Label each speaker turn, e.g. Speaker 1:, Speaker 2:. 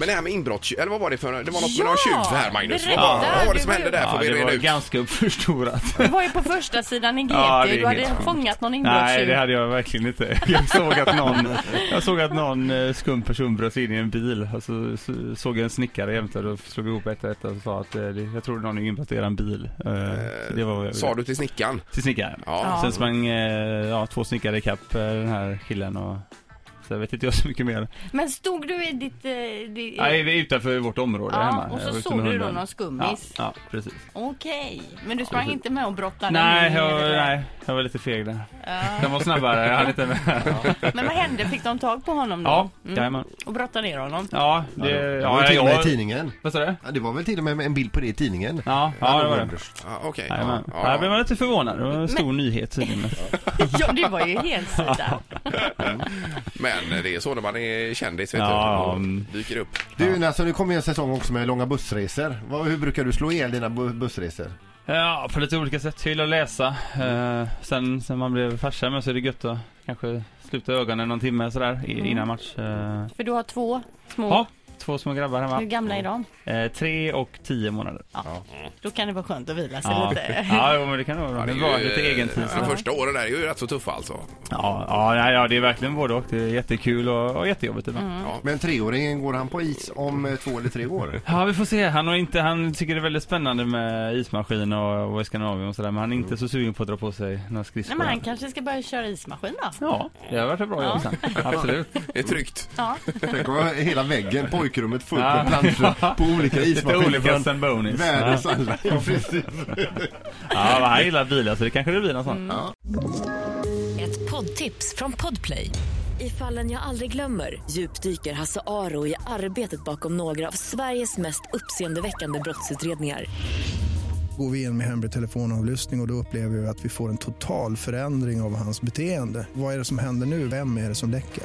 Speaker 1: Men det här med inbrott, eller vad var det för, det var något
Speaker 2: Ja,
Speaker 1: med någon tjuv här Magnus? Vad var,
Speaker 2: berätta.
Speaker 1: vad var det
Speaker 2: Du
Speaker 1: som
Speaker 2: var
Speaker 1: hände
Speaker 2: ju-
Speaker 1: där får vi
Speaker 3: det
Speaker 1: reda
Speaker 3: var
Speaker 1: ut.
Speaker 3: ganska uppförstorat.
Speaker 2: Du var ju på första sidan i GT,
Speaker 3: Ja, det är
Speaker 2: du hade
Speaker 3: helt sjukt.
Speaker 2: fångat någon
Speaker 3: Nej,
Speaker 2: inbrottstjuv.
Speaker 3: det hade jag verkligen inte. Jag såg att någon, jag såg att någon eh, skum person bröt sig in i en bil. Och så, så såg jag en snickare jämte och slog ihop ett och ett och sa att eh, det- jag tror någon är inbrott i eran bil. Eh, Det var vad jag
Speaker 1: Sa du till snickaren?
Speaker 3: Till snickaren.
Speaker 1: Ja.
Speaker 3: Sen sprang eh, ja, två snickare ikapp eh, den här killen och så jag vet inte jag så mycket mer.
Speaker 2: Men stod du i ditt... eh, di-
Speaker 3: Nej, vi är utanför vårt område
Speaker 2: Ja,
Speaker 3: hemma.
Speaker 2: och så
Speaker 3: Jag var ute
Speaker 2: såg
Speaker 3: med
Speaker 2: du då
Speaker 3: hunden.
Speaker 2: någon skummis.
Speaker 3: Ja, ja precis.
Speaker 2: Okej, men du sprang
Speaker 3: precis.
Speaker 2: inte med och brottade?
Speaker 3: Nej
Speaker 2: in i det
Speaker 3: jag,
Speaker 2: där?
Speaker 3: nej, jag var lite feg där.
Speaker 2: Ja.
Speaker 3: Den var snabbare, jag hade inte med.
Speaker 2: Men vad hände? Fick de tag på honom då?
Speaker 3: Ja,
Speaker 2: Mm.
Speaker 3: jajamän.
Speaker 2: Och brottade ner honom?
Speaker 3: Ja, det... Eh, Ja,
Speaker 4: Det var ju till och med i
Speaker 3: jag,
Speaker 4: tidningen.
Speaker 3: vad sa du?
Speaker 4: Ja, det var väl till och med en bild på det i tidningen.
Speaker 3: Ja, ja, det var det.
Speaker 1: Ja, Okej.
Speaker 3: Jajamän.
Speaker 1: Ja,
Speaker 3: Där blev man lite förvånad. Det var en stor nyhet tydligen.
Speaker 2: Ja, det var ju helt sida.
Speaker 1: Men det är så när man är kändis vet
Speaker 3: Ja,
Speaker 1: du.
Speaker 3: mm.
Speaker 1: Dyker upp.
Speaker 4: Du, alltså, nu kommer ju en säsong också med långa bussresor. Vad, hur brukar du slå ihjäl dina bu- bussresor?
Speaker 3: Ja, på lite olika sätt. Jag gillar att läsa. Eh, sen, sen man blev farsa med så är det gött att kanske sluta ögonen någon timme sådär i- innan match. Eh,
Speaker 2: För du har Mm. två små.
Speaker 3: ja, två små grabbar
Speaker 2: Hur
Speaker 3: hemma.
Speaker 2: gamla är de?
Speaker 3: Eh, tre och tio månader.
Speaker 2: Då kan det vara skönt att vila sig
Speaker 3: Ja,
Speaker 2: lite.
Speaker 3: ja jo, men det kan det vara.
Speaker 1: Ja,
Speaker 3: Det
Speaker 1: ju,
Speaker 3: var lite
Speaker 1: eh,
Speaker 3: egen tid.
Speaker 1: De första åren där är ju rätt så tuffa alltså.
Speaker 3: Ja, ja, nej, ja, det är verkligen både och. Det är jättekul och, och jättejobbigt ibland.
Speaker 2: Mm.
Speaker 4: Men treåringen, går han på is om eh, två eller tre år?
Speaker 3: Ja, vi får se. Han, har inte, han tycker det är väldigt spännande med ismaskin och, och Skandinavien och sådär, men han är inte så sugen på att dra på sig några skridskor.
Speaker 2: Nej, men han kanske ska börja köra ismaskin då?
Speaker 3: Ja, det har varit ett bra jobb sen. Absolut.
Speaker 1: Det är tryggt.
Speaker 2: Ja.
Speaker 4: Tänk om hela väggen, pojkrummet fullt
Speaker 3: Ja.
Speaker 4: med planscher på olika
Speaker 3: Lite olika
Speaker 4: ismaskiner. från
Speaker 3: Zambonis. Ja,
Speaker 4: Världens alla. Ja, precis.
Speaker 3: Ja, men han gillar bilar så det kanske det blir något
Speaker 2: Mm.
Speaker 3: sånt.
Speaker 5: Ett poddtips från Podplay. I fallen jag aldrig glömmer djupdyker Hasse Aro i arbetet bakom några av Sveriges mest uppseendeväckande brottsutredningar.
Speaker 6: Går vi in med hemlig telefonavlyssning och, och då upplever vi att vi får en total förändring av hans beteende. Vad är det som händer nu? Vem är det som läcker?